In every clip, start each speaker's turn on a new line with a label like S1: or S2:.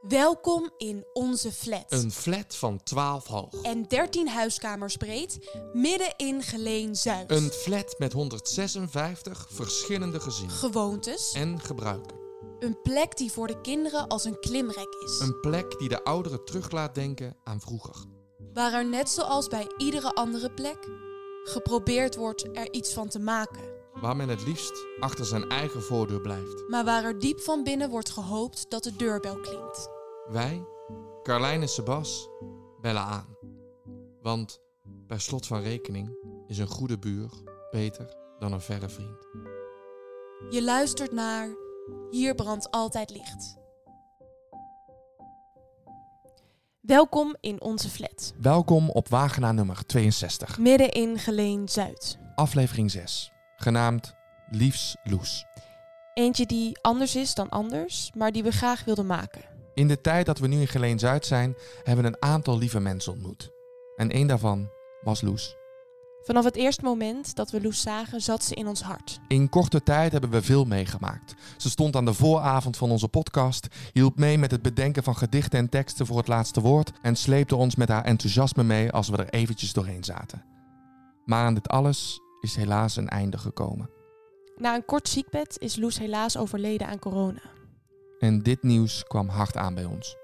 S1: Welkom in onze flat.
S2: Een flat van 12 hoog.
S1: En 13 huiskamers breed, midden in Geleen Zuid.
S2: Een flat met 156 verschillende gezinnen
S1: Gewoontes.
S2: en gebruiken.
S1: Een plek die voor de kinderen als een klimrek is.
S2: Een plek die de ouderen terug laat denken aan vroeger.
S1: Waar er net zoals bij iedere andere plek geprobeerd wordt er iets van te maken.
S2: Waar men het liefst achter zijn eigen voordeur blijft.
S1: Maar waar er diep van binnen wordt gehoopt dat de deurbel klinkt.
S2: Wij, Carlijn en Sebas, bellen aan. Want bij slot van rekening is een goede buur beter dan een verre vriend.
S1: Je luistert naar Hier brandt altijd licht. Welkom in onze flat,
S2: Welkom op Wagenaar nummer 62,
S1: midden in Geleen Zuid.
S2: aflevering 6, genaamd Liefs Loes.
S1: Eentje die anders is dan anders, maar die we graag wilden maken.
S2: In de tijd dat we nu in Geleen Zuid zijn, hebben we een aantal lieve mensen ontmoet. En één daarvan was Loes.
S1: Vanaf het eerste moment dat we Loes zagen, zat ze in ons hart.
S2: In korte tijd hebben we veel meegemaakt. Ze stond aan de vooravond van onze podcast, hielp mee met het bedenken van gedichten en teksten voor het laatste woord en sleepte ons met haar enthousiasme mee als we er eventjes doorheen zaten. Maar aan dit alles is helaas een einde gekomen.
S1: Na een kort ziekbed is Loes helaas overleden aan corona.
S2: En dit nieuws kwam hard aan bij ons.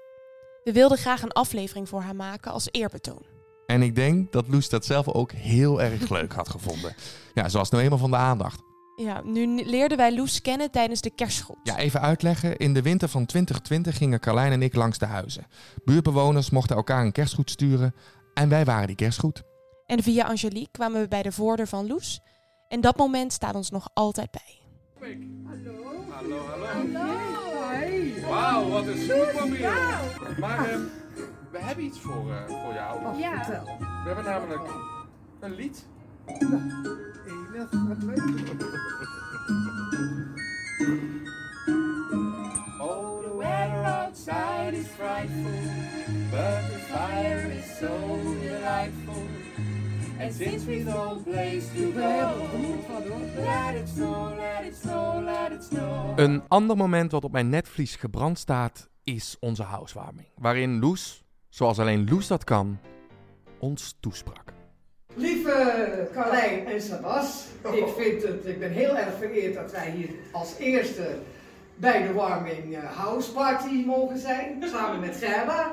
S1: We wilden graag een aflevering voor haar maken als eerbetoon.
S2: En ik denk dat Loes dat zelf ook heel erg leuk had gevonden. Ja, ze was nou eenmaal van de aandacht.
S1: Ja, nu n- leerden wij Loes kennen tijdens de kerstgroep.
S2: Ja, even uitleggen. In de winter van 2020 gingen Carlijn en ik langs de huizen. Buurtbewoners mochten elkaar een kerstgoed sturen en wij waren die kerstgoed.
S1: En via Angelique kwamen we bij de voordeur van Loes. En dat moment staat ons nog altijd bij.
S3: Hallo, hallo. Wauw, wat een snoepmobiel. Maar ehm, we hebben iets voor, eh, voor jou.
S4: Ja.
S3: We hebben namelijk een lied.
S4: Enig, wat leuk.
S3: Oh, the weather outside is frightful, but the fire is so delightful. And since we've no place to go, let it snow, let it snow, let it snow.
S2: Een ander moment wat op mijn netvlies gebrand staat is onze housewarming. Waarin Loes, zoals alleen Loes dat kan, ons toesprak.
S4: Lieve Carlijn en Sabas, ik, vind het, ik ben heel erg vereerd dat wij hier als eerste bij de Warming eh, House Party mogen zijn. Samen met Gerda,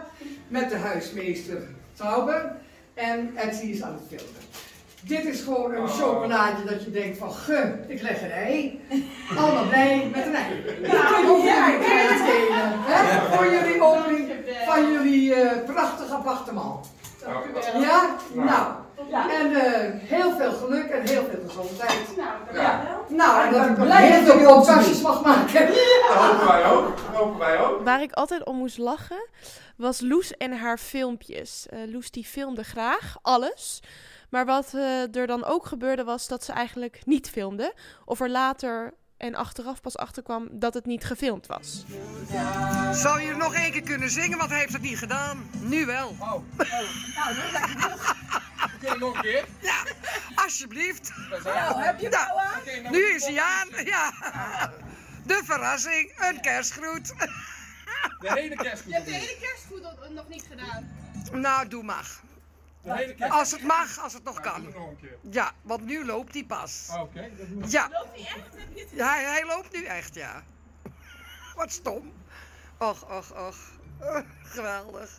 S4: met de huismeester Tauber en Etsy is aan het filmen. Dit is gewoon een chocolaatje dat je denkt van, ge, ik leg een ei. Allemaal blij met een ei. Dat kun je ja, geven, hè? Voor jullie opening van jullie eh, prachtige appartement. Ja? Nou. En eh, heel veel geluk en heel veel gezondheid.
S3: Ja,
S4: Nou, en dat ik blij ben dat ik ook kastjes mag maken.
S3: dat hopen wij ook. Dat hopen wij ook.
S5: Waar ik altijd om moest lachen was Loes en haar filmpjes. Eh, Loes die filmde graag alles. Maar wat eh, er dan ook gebeurde was dat ze eigenlijk niet filmde. Of er later en achteraf pas achterkwam dat het niet gefilmd was.
S4: Zou je er nog één keer kunnen zingen, want hij heeft het niet gedaan. Nu wel.
S3: Oké, nog een keer.
S4: Alsjeblieft.
S3: Daar zijn we.
S4: Nou, heb je
S3: Oké, nog
S4: Nu
S3: een
S4: is
S3: keer. Ah.
S4: hij aan. Ja. De verrassing, een kerstgroet.
S3: De hele kerstgroep.
S6: hebt de hele kerstgoed nog- nog niet gedaan.
S4: Nou, doe maar.
S3: De hele kerstgroep.
S4: Als het mag, als het nog
S3: Doe
S4: kan.
S3: nog een keer.
S4: Ja, want nu loopt hij pas.
S3: Ah, Oké, dat moet
S4: Ja. Hij, hij loopt nu echt, ja. Wat stom. Och, och, och. Geweldig.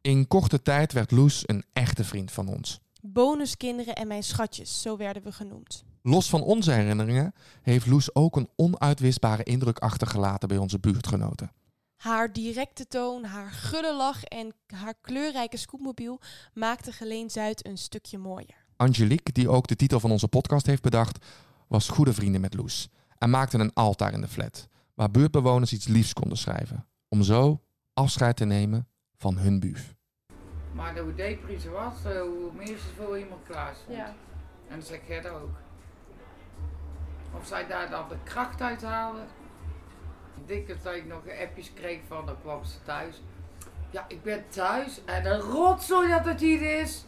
S2: In korte tijd werd Loes een echte vriend van ons.
S1: Bonuskinderen en mijn schatjes, zo werden we genoemd.
S2: Los van onze herinneringen heeft Loes ook een onuitwisbare indruk achtergelaten bij onze buurtgenoten.
S1: Haar directe toon, haar gulle lach en haar kleurrijke scootmobiel maakten Geleen Zuid een stukje mooier.
S2: Angelique, die ook de titel van onze podcast heeft bedacht, was goede vrienden met Loes en maakte een altaar in de flat, waar buurtbewoners iets liefs konden schrijven, om zo afscheid te nemen van hun buuf.
S7: Maar hoe depri ze was, eh, hoe meer ze voor iemand klaar stond. En dat zei Gerda ook. Of zij daar dan de kracht uit haalde. Ik denk dat ik nog appjes kreeg van, dan kwam ze thuis. Ja, ik ben thuis en een rotzooi dat het hier is.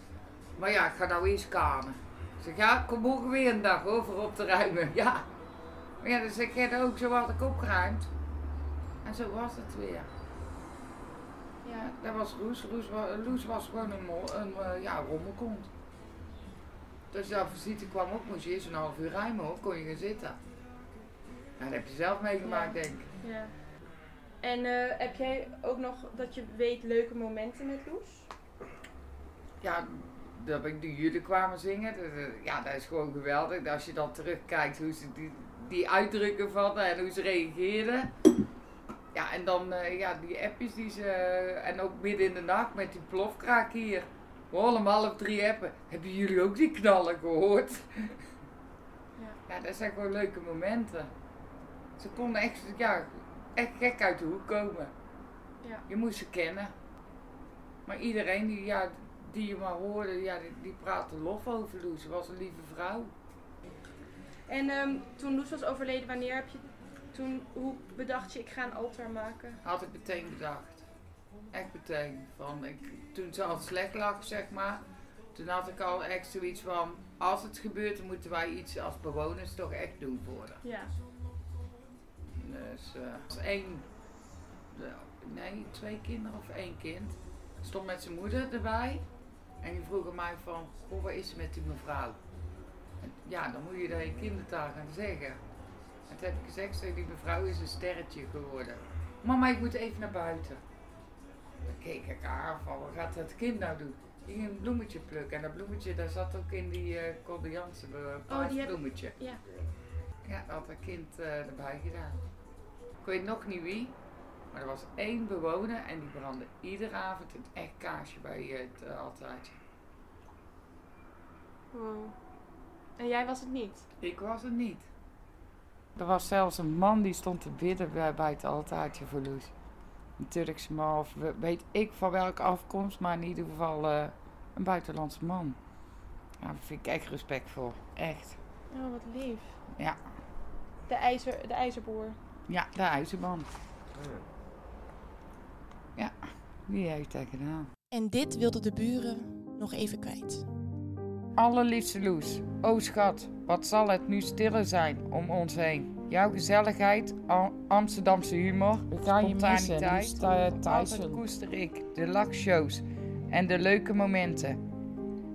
S7: Maar ja, ik ga nou eerst kanen. Ik zeg, ja, ik kom morgen weer een dag hoor, voor op te ruimen. Ja. Maar ja, dan zei Gerda ook, zo had ik opgeruimd. En zo was het weer.
S5: Ja.
S7: Dat eh, was Roes. Roes was, Loes was gewoon een, mol, een eh, ja, rommelkont. Dus jouw visite kwam op, moest je eerst een half uur rijmen hoor, kon je gaan zitten. Nou, dat heb je zelf meegemaakt, denk ik.
S5: ja. En eh, heb jij ook nog dat je weet leuke momenten met Loes?
S7: Ja, dat ik de jullie kwamen zingen, dat, eh, ja, dat is gewoon geweldig. Als je dan terugkijkt hoe ze die, die uitdrukken vatten en hoe ze reageerden. Ja, en dan eh, ja, die appjes die ze, eh, en ook midden in de nacht met die plofkraak hier. Hoor om half drie appen. Hebben jullie ook die knallen gehoord? Ja, dat zijn gewoon leuke momenten. Ze konden echt, ja, echt gek uit de hoek komen.
S5: Ja.
S7: Je moest ze kennen. Maar iedereen die, ja, die je maar hoorde, ja, die, die praatte lof over Lou. Ze was een lieve vrouw.
S5: En ehm, toen Loes was overleden, wanneer heb je toen, hoe bedacht je, ik ga een altaar maken?
S7: Had ik meteen bedacht. Echt meteen. Van, ik, toen ze al slecht lag, zeg maar. Toen had ik al echt zoiets van, als het gebeurt, dan moeten wij iets als bewoners toch echt doen voor haar.
S5: Ja.
S7: Dus eh, als één, nee, twee kinderen of één kind. Stond met zijn moeder erbij. En die vroeg aan mij van, goh, wat is er met die mevrouw? En ja, dan moet je dat je kindertaal gaan zeggen. En toen heb ik gezegd, zeg, die mevrouw is een sterretje geworden. Mama, ik moet even naar buiten. Dan keek ik haar van, wat gaat dat kind nou doen? Die ging een bloemetje plukken. En dat bloemetje, daar zat ook in die eh cordianse
S5: Oh, heb ik-
S7: bloemetje.
S5: ja.
S7: Ja, dat had een kind eh, erbij gedaan. Ik weet nog niet wie, maar er was één bewoner en die brandde iedere avond een echt kaarsje bij het eh, altaartje.
S5: En jij was het niet?
S7: Ik was het niet. Er was zelfs een man die stond te bidden bij, bij het altaartje voor Loes. Een Turkse man, of we- weet ik van welke afkomst, maar in ieder geval eh, een buitenlandse man. Daar vind ik echt respect voor. Echt.
S5: Oh, wat lief.
S7: Ja.
S5: De, ijzer, de ijzerboer.
S7: Ja, de huizenman. Ja, die heeft dat gedaan.
S1: En dit wilden de buren nog even kwijt.
S7: Allerliefste Loes, o schat, wat zal het nu stiller zijn om ons heen. Jouw gezelligheid, Am- Amsterdamse humor,
S8: We gaan je missen,
S7: spontaniteit,
S8: Loes Thij-
S7: altijd
S8: Thijssen.
S7: koester ik, de lachshows en de leuke momenten.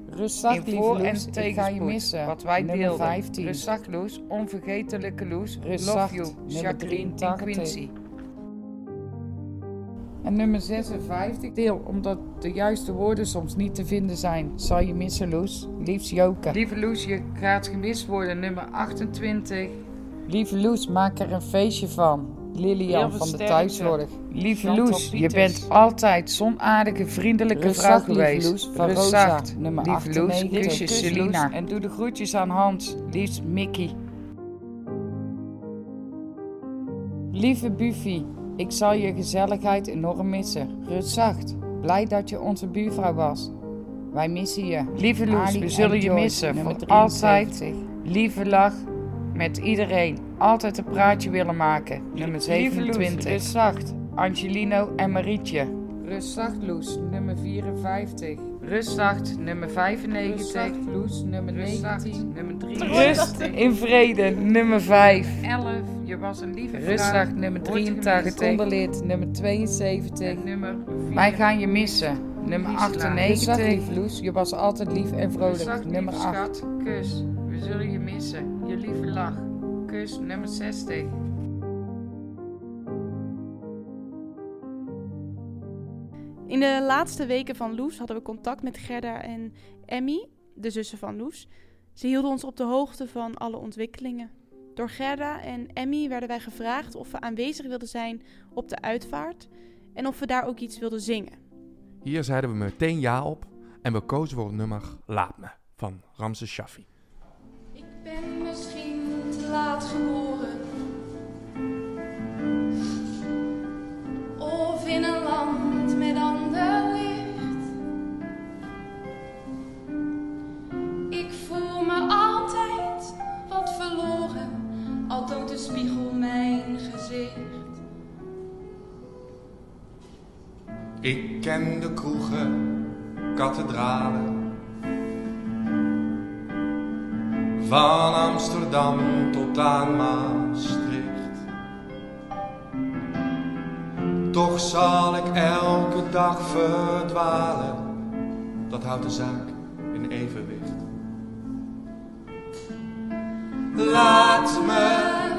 S8: Rustig,
S7: In
S8: lieve
S7: voor- en
S8: Loes, ik ga je
S7: tegenspoed,
S8: missen.
S7: wat wij
S8: Nummer
S7: deelden.
S8: 15.
S7: Rustig Loes, onvergetelijke Loes,
S8: Rustzacht,
S7: love you,
S8: nummer
S7: Jacqueline en
S8: 83.
S7: Quincy. En nummer 56, deel omdat de juiste woorden soms niet te vinden zijn.
S8: Zal je missen, Loes? Liefst Joke.
S7: Lieve Loes, je gaat gemist worden, nummer 28.
S8: Lieve Loes, maak er een feestje van.
S7: Heel
S8: Lilian
S7: veel
S8: van de
S7: sterkte.
S8: Thuiszorg.
S7: Lieve
S8: Chantal
S7: Loes, je
S8: Pieters.
S7: bent altijd zo'n aardige, vriendelijke
S8: Rust
S7: vrouw
S8: zacht, lieve
S7: geweest.
S8: Loes, van
S7: Rust
S8: Rosa,
S7: zacht.
S8: nummer
S7: lieve Loes,
S8: 98.
S7: kusjes
S8: Kus,
S7: Selina.
S8: Loes,
S7: En doe de groetjes aan Hans, liefst Mickey.
S8: Lieve Buffy, ik zal je gezelligheid enorm missen. Rutzacht, blij dat je onze buurvrouw was. Wij missen je.
S7: Lieve Loes,
S8: Ali
S7: we zullen
S8: en
S7: je
S8: Joyce,
S7: missen.
S8: nummer
S7: Voor altijd.
S8: 73.
S7: Lieve lach met iedereen. Altijd een praatje willen maken, nummer
S8: Lieve
S7: 27.
S8: Loes, rustzacht.
S7: Angelino en Marietje.
S8: Rustzacht, Loes, nummer 54.
S7: Rustzacht, nummer 95.
S8: Rustzacht, Loes, nummer 19.
S7: nummer 3.
S8: Rust in vrede, nummer 5.
S7: 11. Je was een lieve vrouw.
S8: Rustzacht, nummer
S7: Wordt gemist.
S8: 83. lid nummer 72.
S7: En nummer
S8: Wij
S7: vier.
S8: gaan je missen. Nummer
S7: Gisela.
S8: 98.
S7: Rustzacht, lief
S8: Loes. Je was altijd lief en
S7: Rustzacht, lieve Schat, kus. We zullen je missen. Je lieve lach. Kus nummer 60.
S5: In de laatste weken van Loes hadden we contact met Gerda en Emmy, de zussen van Loes. Ze hielden ons op de hoogte van alle ontwikkelingen. Door Gerda en Emmy werden wij gevraagd of we aanwezig wilden zijn op de uitvaart en of we daar ook iets wilden zingen.
S2: Hier zeiden we meteen ja op en we kozen voor het nummer Laat Me van Ramses Shaffi.
S9: Ik ben misschien te laat geboren. Of in een land met ander licht. Ik voel me altijd wat verloren, al toont de spiegel mijn gezicht.
S2: Ik ken de kroegen, kathedralen. Van Amsterdam tot aan Maastricht.
S10: Toch zal ik elke dag verdwalen. Dat houdt de zaak in evenwicht. Laat me,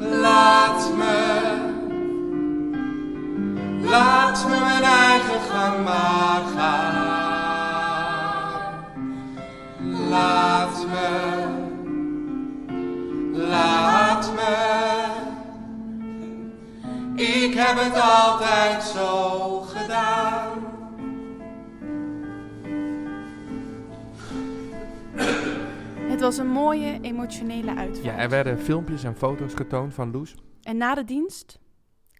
S10: laat me, laat me mijn eigen gang maar gaan. Laat me, laat me. Ik heb het altijd zo gedaan.
S11: Het was een mooie, emotionele uitvaart.
S12: Ja, er werden filmpjes en foto's getoond van Loes.
S11: En na de dienst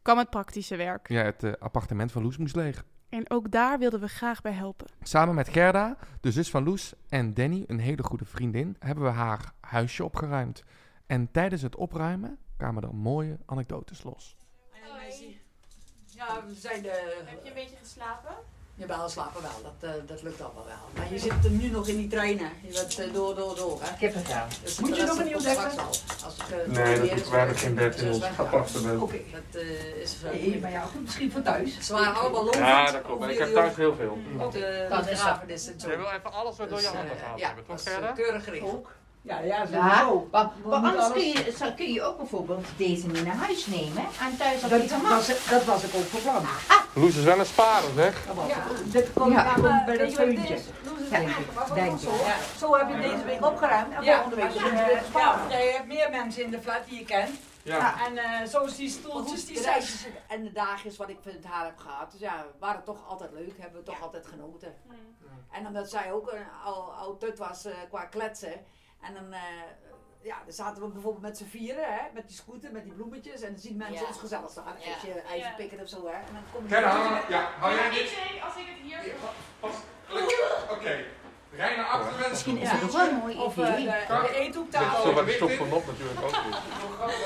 S11: kwam het praktische werk.
S12: Ja, het eh, appartement van Loes moest leeg.
S11: En ook daar wilden we graag bij helpen.
S12: Samen met Gerda, de zus van Loes, en Danny, een hele goede vriendin, hebben we haar huisje opgeruimd. En tijdens het opruimen kwamen er mooie anekdotes los.
S7: Ja, we zijn eh, de...
S1: Heb je een beetje geslapen?
S7: Jawel, slapen wel. Dat, eh, dat lukt allemaal wel. Maar je zit er nu nog in die treinen. Je bent eh, door, door, door. Hè? Ik heb het
S13: ja.
S7: Moet je nog een nieuw dekken?
S13: Nee, dat is waar geen bed in ons appartement.
S7: Oké, dat eh, is... eh,
S13: Nee, maar ja, goed, misschien van thuis.
S7: Ze waren allemaal lomp.
S13: Ja, dat klopt. Ik heb thuis heel veel.
S7: Op de
S13: Dat is
S7: begrafenis en zo.
S13: Je wil even alles wat door je handen gehaald
S7: ja,
S13: hebben, toch,
S7: dat is, eh,
S13: Gerda?
S7: keurig gericht.
S13: Ja, ja,
S14: Ja,
S13: sowieso.
S14: maar, maar
S13: moet
S14: anders kun
S13: alles-
S14: je, zou- kun je ook bijvoorbeeld deze mee naar huis nemen en thuis op
S13: Dat
S14: je gemak.
S13: was, dat was ik ook van plan.
S12: Loes is wel een sparer, zeg.
S13: Ja,
S14: dat
S13: komt
S14: Ja.
S13: daarom bij dat
S14: Weet je wat
S13: vriendje.
S14: het is?
S13: Denk ik, denk ik.
S7: Ja.
S13: Zo heb je deze week opgeruimd en
S7: Ja,
S13: volgende week
S7: als
S13: is
S7: je,
S13: het
S7: eh,
S13: weer
S7: ja,
S13: sparen.
S7: je hebt meer mensen in de flat die je kent.
S13: Ja.
S7: En eh, zo is die stoeltjes, die
S13: Goed,
S7: zijn...
S13: reis.
S7: En de dagjes wat ik met haar heb gehad. Dus ja, waren toch altijd leuk, hebben we toch altijd genoten. En omdat zij ook een oud oud tut was eh, qua kletsen. En dan, eh, ja, dan zaten we bijvoorbeeld met z'n vieren, hè, met die scooter, met die bloemetjes. En dan zien mensen
S15: Ja.
S7: ons gezellig staan.
S15: Ja.
S7: Als je ijzer pikken of zo, hè. En dan kom je...
S15: Gerda, ja, hou jij
S7: dit?
S15: als ik het hier...
S13: Oké, rij naar achteren. Misschien
S7: is het nog wel een mooi
S13: Of
S7: idee.
S13: eh, de, de eethoektafel.
S12: Zo bij de shop van Nop natuurlijk ook.
S7: Ja,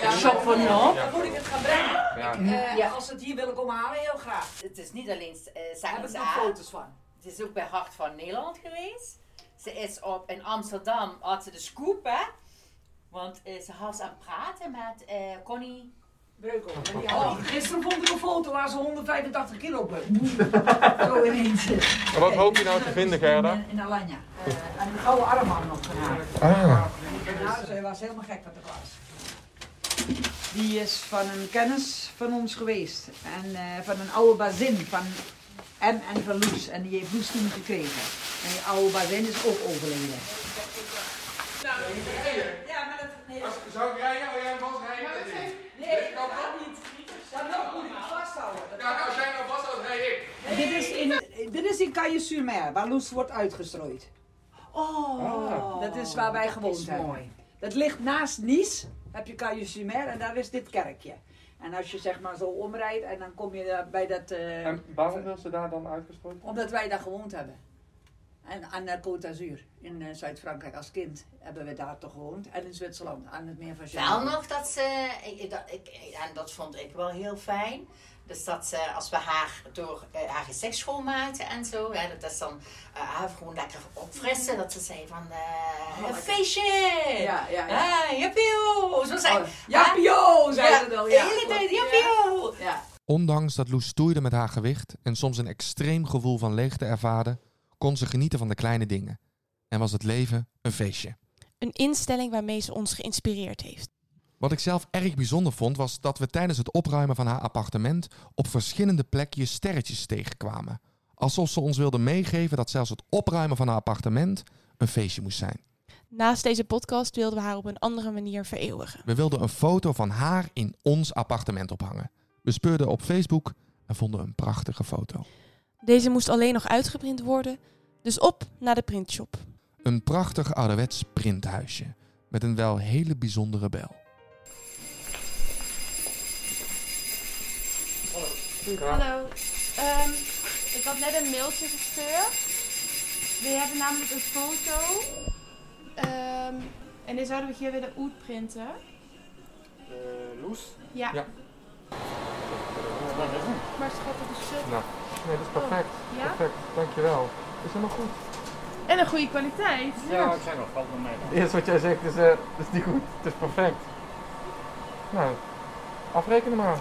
S7: maar-
S13: Shop van Nop?
S7: Dan moet ik het gaan brengen.
S12: Ja.
S7: Eh, Als ze het hier willen komen halen, heel graag.
S16: Het is niet alleen uh,
S7: Hebben ze nog foto's van?
S16: Het is ook bij Hart van Nederland geweest. Ze is op, in Amsterdam, had ze de scoop, hè. Want eh, ze was aan het praten met eh, Connie...
S7: Breukel.
S16: En die
S7: Oh,
S16: had
S7: gisteren vond ik een foto waar ze 185 kilo beukt. Zo ineens.
S12: En wat hoop je nou te vinden, Gerda?
S7: In Alanya. Eh, en een gouden armband nog van haar.
S12: Ah.
S7: Ja, zij was helemaal gek met de klas.
S13: Die is van een kennis van ons geweest. En eh, van een oude bazin van M en van Loes. En die heeft Loes toen gekregen. En die oude bazin is ook overleden.
S7: Ja, maar dat... Nee.
S13: Zou ik rijden? Wil jij een bas rijden?
S7: Nee, dat kan niet. Dat nog moet ik vasthouden.
S13: Ja, als jij nou vasthoudt, rij ik. Dit is in, dit is in Caille-sur-Mer, waar Loes wordt uitgestrooid.
S7: Oh.
S13: Dat is waar wij gewoond
S7: is
S13: hebben.
S7: mooi.
S13: Dat ligt naast Nice, heb je Caille-sur-Mer en daar is dit kerkje. En als je zeg maar zo omrijdt en dan kom je daar bij dat... eh,
S12: En waarom wil ze daar dan uitgesproken?
S13: Omdat wij daar gewoond hebben. En aan de Côte d'Azur in eh, Zuid-Frankrijk als kind hebben we daar toch gewoond. En in Zwitserland aan het meer van
S16: Wel
S13: Genève.
S16: nog dat ze, ik- ik- dat, ik, en dat vond ik wel heel fijn. Dus dat ze, als we haar door eh, haar gezicht schoonmaakten en zo, hè, dat is dan eh, haar gewoon lekker opfrissen. Dat ze zei van, eh, een feestje!
S7: Ja, ja, ja.
S16: Ah, jippie-ho! Zo zei
S7: Oh, jappie-ho, zei
S16: Ja,
S7: ze dan,
S16: De
S7: ja,
S16: hele tijd,
S7: klopt.
S16: jappie-ho!
S2: Ondanks dat Loes stoeide met haar gewicht en soms een extreem gevoel van leegte ervaarde, kon ze genieten van de kleine dingen. En was het leven een feestje.
S1: Een instelling waarmee ze ons geïnspireerd heeft.
S2: Wat ik zelf erg bijzonder vond was dat we tijdens het opruimen van haar appartement op verschillende plekjes sterretjes tegenkwamen. Alsof ze ons wilde meegeven dat zelfs het opruimen van haar appartement een feestje moest zijn.
S1: Naast deze podcast wilden we haar op een andere manier vereeuwigen.
S2: We wilden een foto van haar in ons appartement ophangen. We speurden op Facebook en vonden een prachtige foto.
S1: Deze moest alleen nog uitgeprint worden, dus op naar de printshop.
S2: Een prachtig ouderwets printhuisje met een wel hele bijzondere bel.
S5: Hallo. Ehm, ik had net een mailtje gestuurd. We hebben namelijk een foto. Ehm, en die zouden we hier willen uitprinten.
S12: Loes?
S5: Ja.
S12: Ja.
S5: Maar schat, dat is shit.
S12: Nou, nee, dat is perfect.
S5: Ja?
S12: Perfect, dankjewel. Is helemaal goed.
S5: En een goede kwaliteit.
S12: zijn nog valt mee. Eerst wat jij zegt is, eh, dat is niet goed, het is perfect. Nou, afrekenen maar.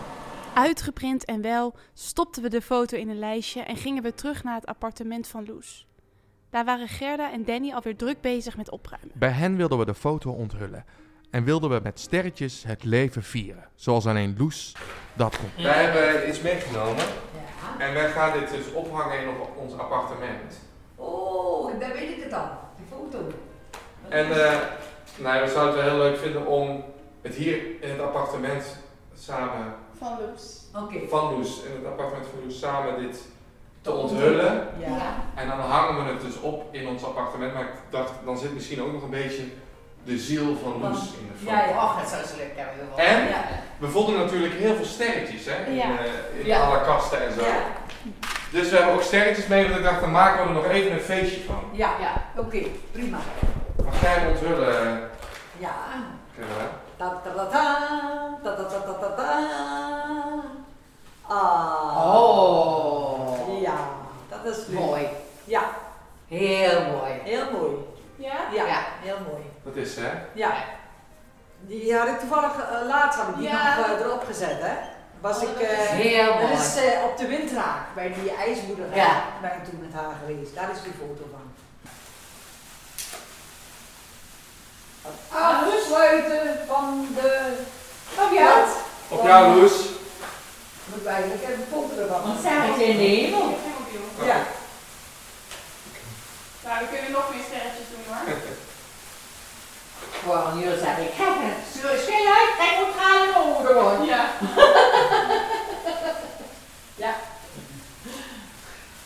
S1: uitgeprint en wel stopten we de foto in een lijstje en gingen we terug naar het appartement van Loes. Daar waren Gerda en Danny alweer druk bezig met opruimen.
S2: Bij hen wilden we de foto onthullen. En wilden we met sterretjes het leven vieren. Zoals alleen Loes dat kon.
S12: Wij hebben iets meegenomen. En wij gaan dit dus ophangen in op ons appartement.
S13: Oh, daar weet ik het al. Die foto.
S12: En eh, nou, ja, we zouden het wel heel leuk vinden om het hier in het appartement samen
S10: Van Loes.
S13: Oké.
S12: van Loes, in het appartement van Loes, samen dit te onthullen.
S13: Ja. Ja.
S12: En dan hangen we het dus op in ons appartement. Maar ik dacht, dan zit misschien ook nog een beetje de ziel van Loes in de foto.
S17: Ja, ja. Och, dat zou ze leuk hebben. willen.
S12: En
S17: Ja.
S12: we vonden natuurlijk heel veel sterretjes hè, in,
S17: Ja.
S12: eh, in
S17: Ja.
S12: alle kasten en zo. Dus we hebben ook sterretjes mee, want ik dacht, dan maken we er nog even een feestje van.
S13: Ja, ja. oké, prima.
S12: Mag jij hem onthullen,
S13: Ja.
S12: Gerda?
S13: Ta ta ta ta ta ta ta ta ta ta. Ah.
S7: Oh.
S13: Ja, dat is leuk.
S7: Mooi.
S13: Ja.
S7: Heel mooi.
S13: Heel mooi.
S10: Ja?
S13: Ja, heel mooi.
S12: Dat is hè?
S13: Ja. Die had ik toevallig eh, laatst had ik die
S10: Ja.
S13: nog eh, erop gezet, hè? Was ik. eh,
S7: Heel
S13: dat
S7: mooi.
S13: is eh, op de windraak bij die ijsboerderij.
S7: Ja.
S13: Ben ik toen met haar geweest. Daar is die foto van. Afsluiten van de. Op jou.
S12: Op jou, Loes.
S13: Moet ik eigenlijk even een foto ervan.
S7: Wat zijn het in de hemel?
S13: Ja.
S10: Nou, dan kunnen we nog meer sterretjes doen hoor.
S7: Gewoon, jullie zijn ik gek. Schil uit, kijk hoe tranen over gewoon.
S10: Ja.
S13: ja.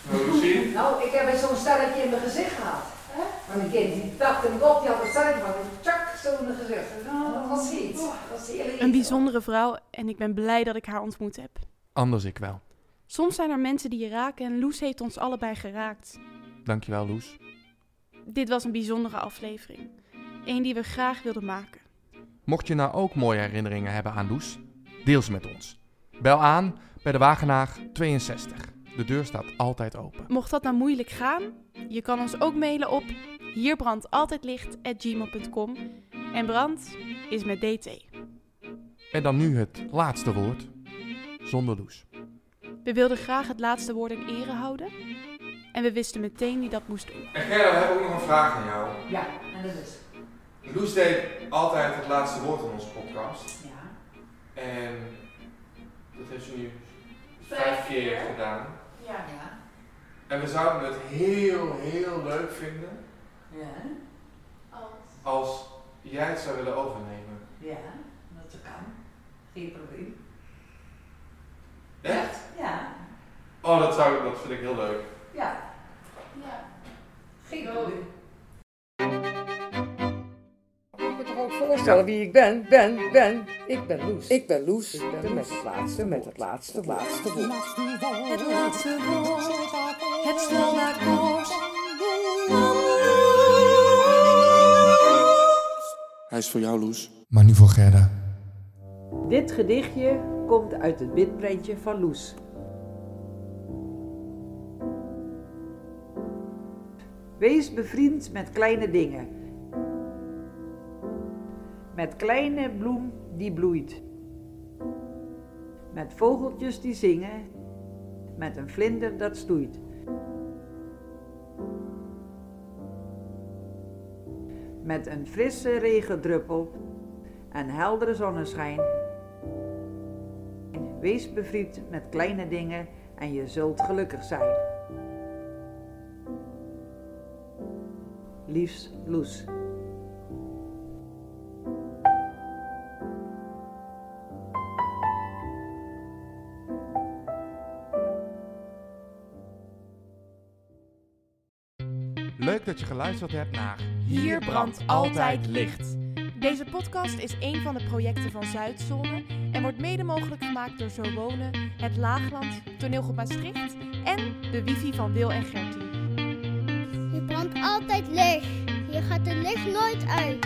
S12: Nou, Lucie?
S13: Nou, ik heb eens zo'n sterretje in mijn gezicht gehad. Want een kind die dacht en op, die had een sterretje van een tjak zo in mijn gezicht. Nou, dat was iets. Dat was heel iets.
S1: Een bijzondere vrouw en ik ben blij dat ik haar ontmoet heb.
S2: Anders ik wel.
S1: Soms zijn er mensen die je raken en Loes heeft ons allebei geraakt.
S2: Dankjewel, Loes.
S1: Dit was een bijzondere aflevering. Eén die we graag wilden maken.
S2: Mocht je nou ook mooie herinneringen hebben aan Loes, deel ze met ons. Bel aan bij de Wagenaar 62. De deur staat altijd open.
S1: Mocht dat nou moeilijk gaan, je kan ons ook mailen op hierbrandt@gmail.com En brand is met DT.
S2: En dan nu het laatste woord. Zonder Loes.
S1: We wilden graag het laatste woord in ere houden. En we wisten meteen wie dat moest doen.
S12: En Gerda, we hebben ook nog een vraag aan jou.
S13: Ja, en dat is.
S12: Loes deed altijd het laatste woord in onze podcast. Ja. En dat heeft ze nu vijf
S10: Vijf
S12: keer
S10: keer.
S12: gedaan.
S10: Ja.
S12: En we zouden het heel, heel leuk vinden
S13: Ja.
S12: als jij het zou willen overnemen.
S13: Ja, dat kan. Geen probleem.
S12: Echt?
S13: Ja.
S12: Oh, dat, zou, dat vind ik heel leuk.
S13: Ja. Ja. Geen probleem.
S18: Ik moet toch ook voorstellen wie ik ben, ben, ben. Ik ben Loes. Ik ben Loes. met het laatste, met het laatste, laatste woord.
S19: Het laatste woord, het snel akkoord.
S20: Hij is voor jou, Loes. Maar nu voor Gerda.
S21: Dit gedichtje komt uit het bidprentje van Loes. Wees bevriend met kleine dingen. Met kleine bloem die bloeit. Met vogeltjes die zingen. Met een vlinder dat stoeit. Met een frisse regendruppel en heldere zonneschijn. Wees bevriend met kleine dingen en je zult gelukkig zijn. Liefs Loes.
S2: Leuk dat je geluisterd hebt naar
S1: Hier brandt altijd licht. Deze podcast is een van de projecten van Zuidzone en wordt mede mogelijk gemaakt door Zo Wonen, Het Laagland, Toneelgroep Maastricht en de wifi van Wil en Gertie.
S5: Hier brandt altijd licht. Hier gaat de licht nooit uit.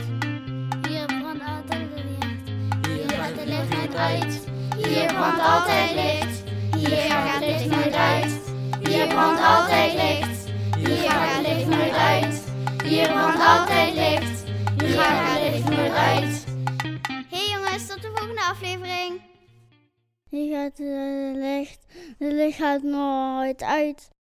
S5: Hier brandt altijd licht. Hier gaat de licht nooit uit. Hier brandt altijd licht. Hier gaat het licht nooit uit. Hier brandt altijd licht. Hier gaat het licht nooit uit. Hier brandt altijd licht. Hier gaat het licht nooit uit. Hey jongens, tot de volgende aflevering. Hier gaat het licht, het licht gaat nooit uit.